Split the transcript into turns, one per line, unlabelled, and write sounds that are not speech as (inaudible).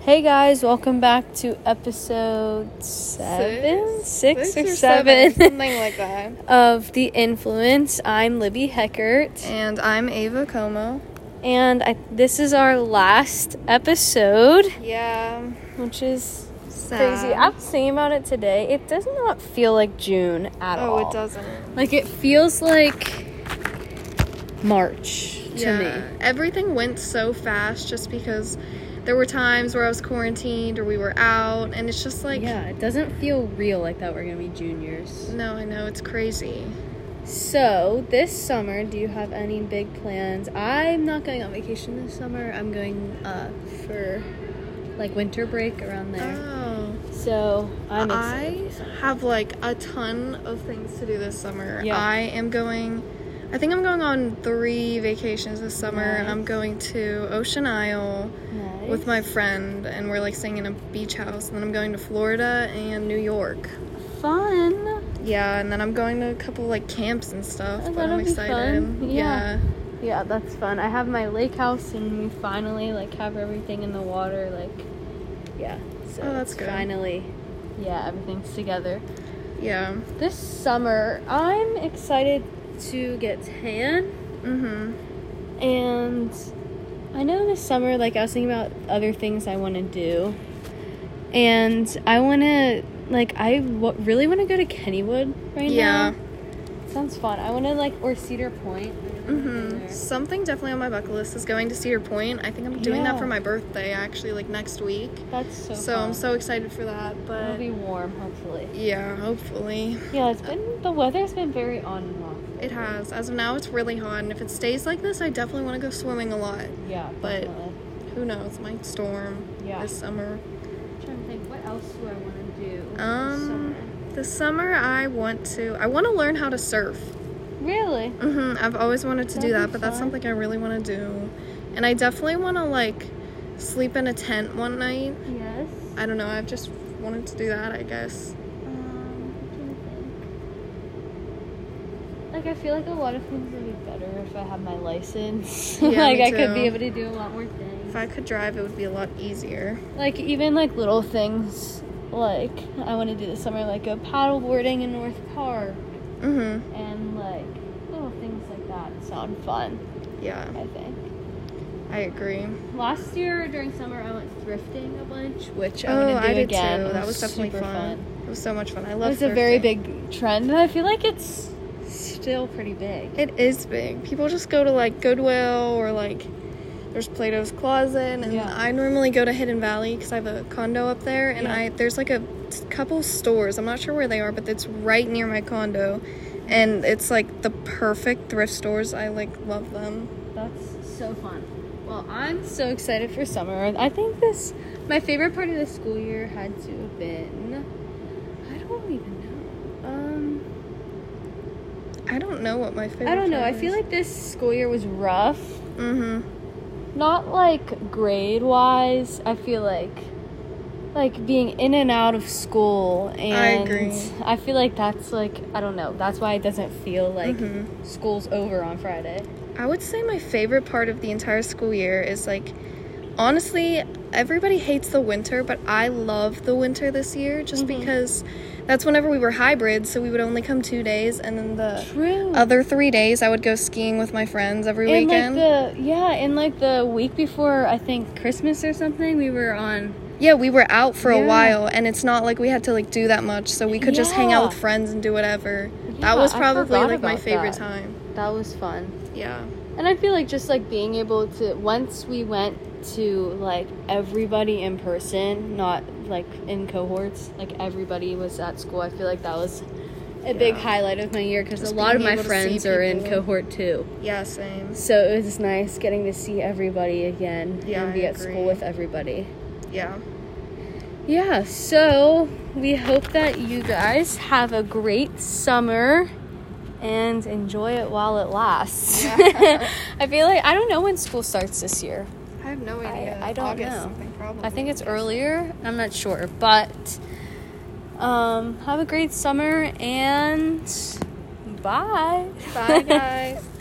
Hey guys, welcome back to episode seven, six, or, (laughs) seven,
something like that.
of The Influence. I'm Libby Heckert,
And I'm Ava Como.
and I, this is our last episode,
Yeah,
which is
sad.
crazy. I was thinking about it today. It does not feel like June at all.
oh, it doesn't.
Like it feels like March to me.
everything went so fast just because there were times where I was quarantined or we were out, and it's just like,
yeah, it doesn't feel real like that. We're gonna be juniors.
no, I know it's crazy.
So, this summer, do you have any big plans? I'm not going on vacation this summer. I'm going uh, for like winter break around there.
Oh,
so, I'm excited.
I have like a ton of things to do this summer.
Yeah.
I am going. I think I'm going on three vacations this summer.
Nice.
I'm going to Ocean Isle.
Nice.
with my friend and we're like staying in a beach house and then i'm going to florida and new york
fun.
yeah and then i'm going to a couple like camps and stuff
Oh,
but i'm
that'll be
excited
fun. Yeah.
yeah
Yeah, that's fun. I have my lake house and we finally like have everything in the water like yeah. So,
Oh, that's
it's
good.
finally yeah, everything's together.
yeah, yeah.
This summer, I'm excited to get tan.
mm-hmm
And I know this summer, like, I was thinking about other things I want to do. And I want to, like, I w- really want to go to Kennywood right
yeah
now. Sounds fun. I want to, like, or Cedar Point.
mm-hmm something definitely on my bucket list is going to cedar point i think i'm doing
Yeah.
that for my birthday actually like next week
That's so,
so,
fun.
i'm so excited for that
It'll
but
be warm, hopefully.
yeah hopefully
Yeah, it's been, the weather's been very on and off.
it has as of now it's really hot and if it stays like this i definitely want to go swimming a lot
Yeah,
But-
definitely.
who knows my storm
Yeah.
this summer
I'm trying to think, what else do I want to do? this
Um, This summer, I want to. I want to learn how to surf.
summer? Really?
hmm I've always wanted to do
That'd
that,
be
but that's
fun.
something I really want to do. And I definitely want to like sleep in a tent one night.
Yes.
I don't know. I've just wanted to do that. I guess.
Um, I'm trying to Um, think. Like I feel like a lot of things would be better if I had my license. (laughs)
Yeah,
like
me
I could be
too.
able to do a lot more things.
If I could drive, it would be a lot easier.
Like even like little things like I want to do this summer like go paddleboarding in North Park
hmm
and like little things like that sound fun,
Yeah,
I think.
I agree.
Last year during summer I went thrifting a bunch, which I'm
oh,
going to do
I did
again.
too.
It
That was definitely
super
fun. It was so much fun. I
It
love.
was a very
thrifting.
big trend and I feel like it's still pretty big.
It is big. People just go to like Goodwill or like there's Plato's Closet, and
Yeah.
I normally go to Hidden Valley because I have a condo up there, and
Yeah.
I there's like a t- couple stores. I'm not sure where they are, but it's right near my condo, and it's like the perfect thrift stores. I like love them.
That's so fun. Well, I'm so excited for summer. I think this my favorite part of the school year had to have been I don't even know. Um
I don't know what my favorite.
I don't know. I feel like this school year was rough.
Mm-hmm.
Not like grade wise. I feel like like being in and out of school and
agree.
I feel like that's like I don't know. That's why it doesn't feel like school's over on Friday.
I would say my favorite part of the entire school year is like honestly, everybody hates the winter, but I love the winter this year just
Mhm.
because that's whenever we were hybrid, so we would only come 2 days and then the
True.
other 3 days I would go skiing with my friends every
And
weekend.
like the yeah, and like the week before I think Christmas or something, we were on.
yeah, we were out for
Yeah.
a while and it's not like we had to like do that much, so we could just hang out
Yeah.
with friends and do whatever.
Yeah,
that was
I
probably
forgot
like my
about
favorite
that.
time.
That was fun,
Yeah.
and I feel like just like being able to once we went to like everybody in person, not like in cohorts, like everybody was at school. I feel like that was a big
Yeah.
highlight of my year because a
Just
lot of
being
my
able to see
friends are in
people.
cohort two,
Yeah, same.
so it was nice getting to see everybody again
Yeah,
and be
I
at school
agree.
with everybody.
Yeah.
Yeah, so we hope that you guys have a great summer and enjoy it while it lasts. (laughs)
Yeah.
I feel like I don't know when school starts this year.
I have no idea.
I don't
August
know.
something probably.
I think it's earlier. I'm not sure, but um have a great summer and bye. (laughs)
Bye guys.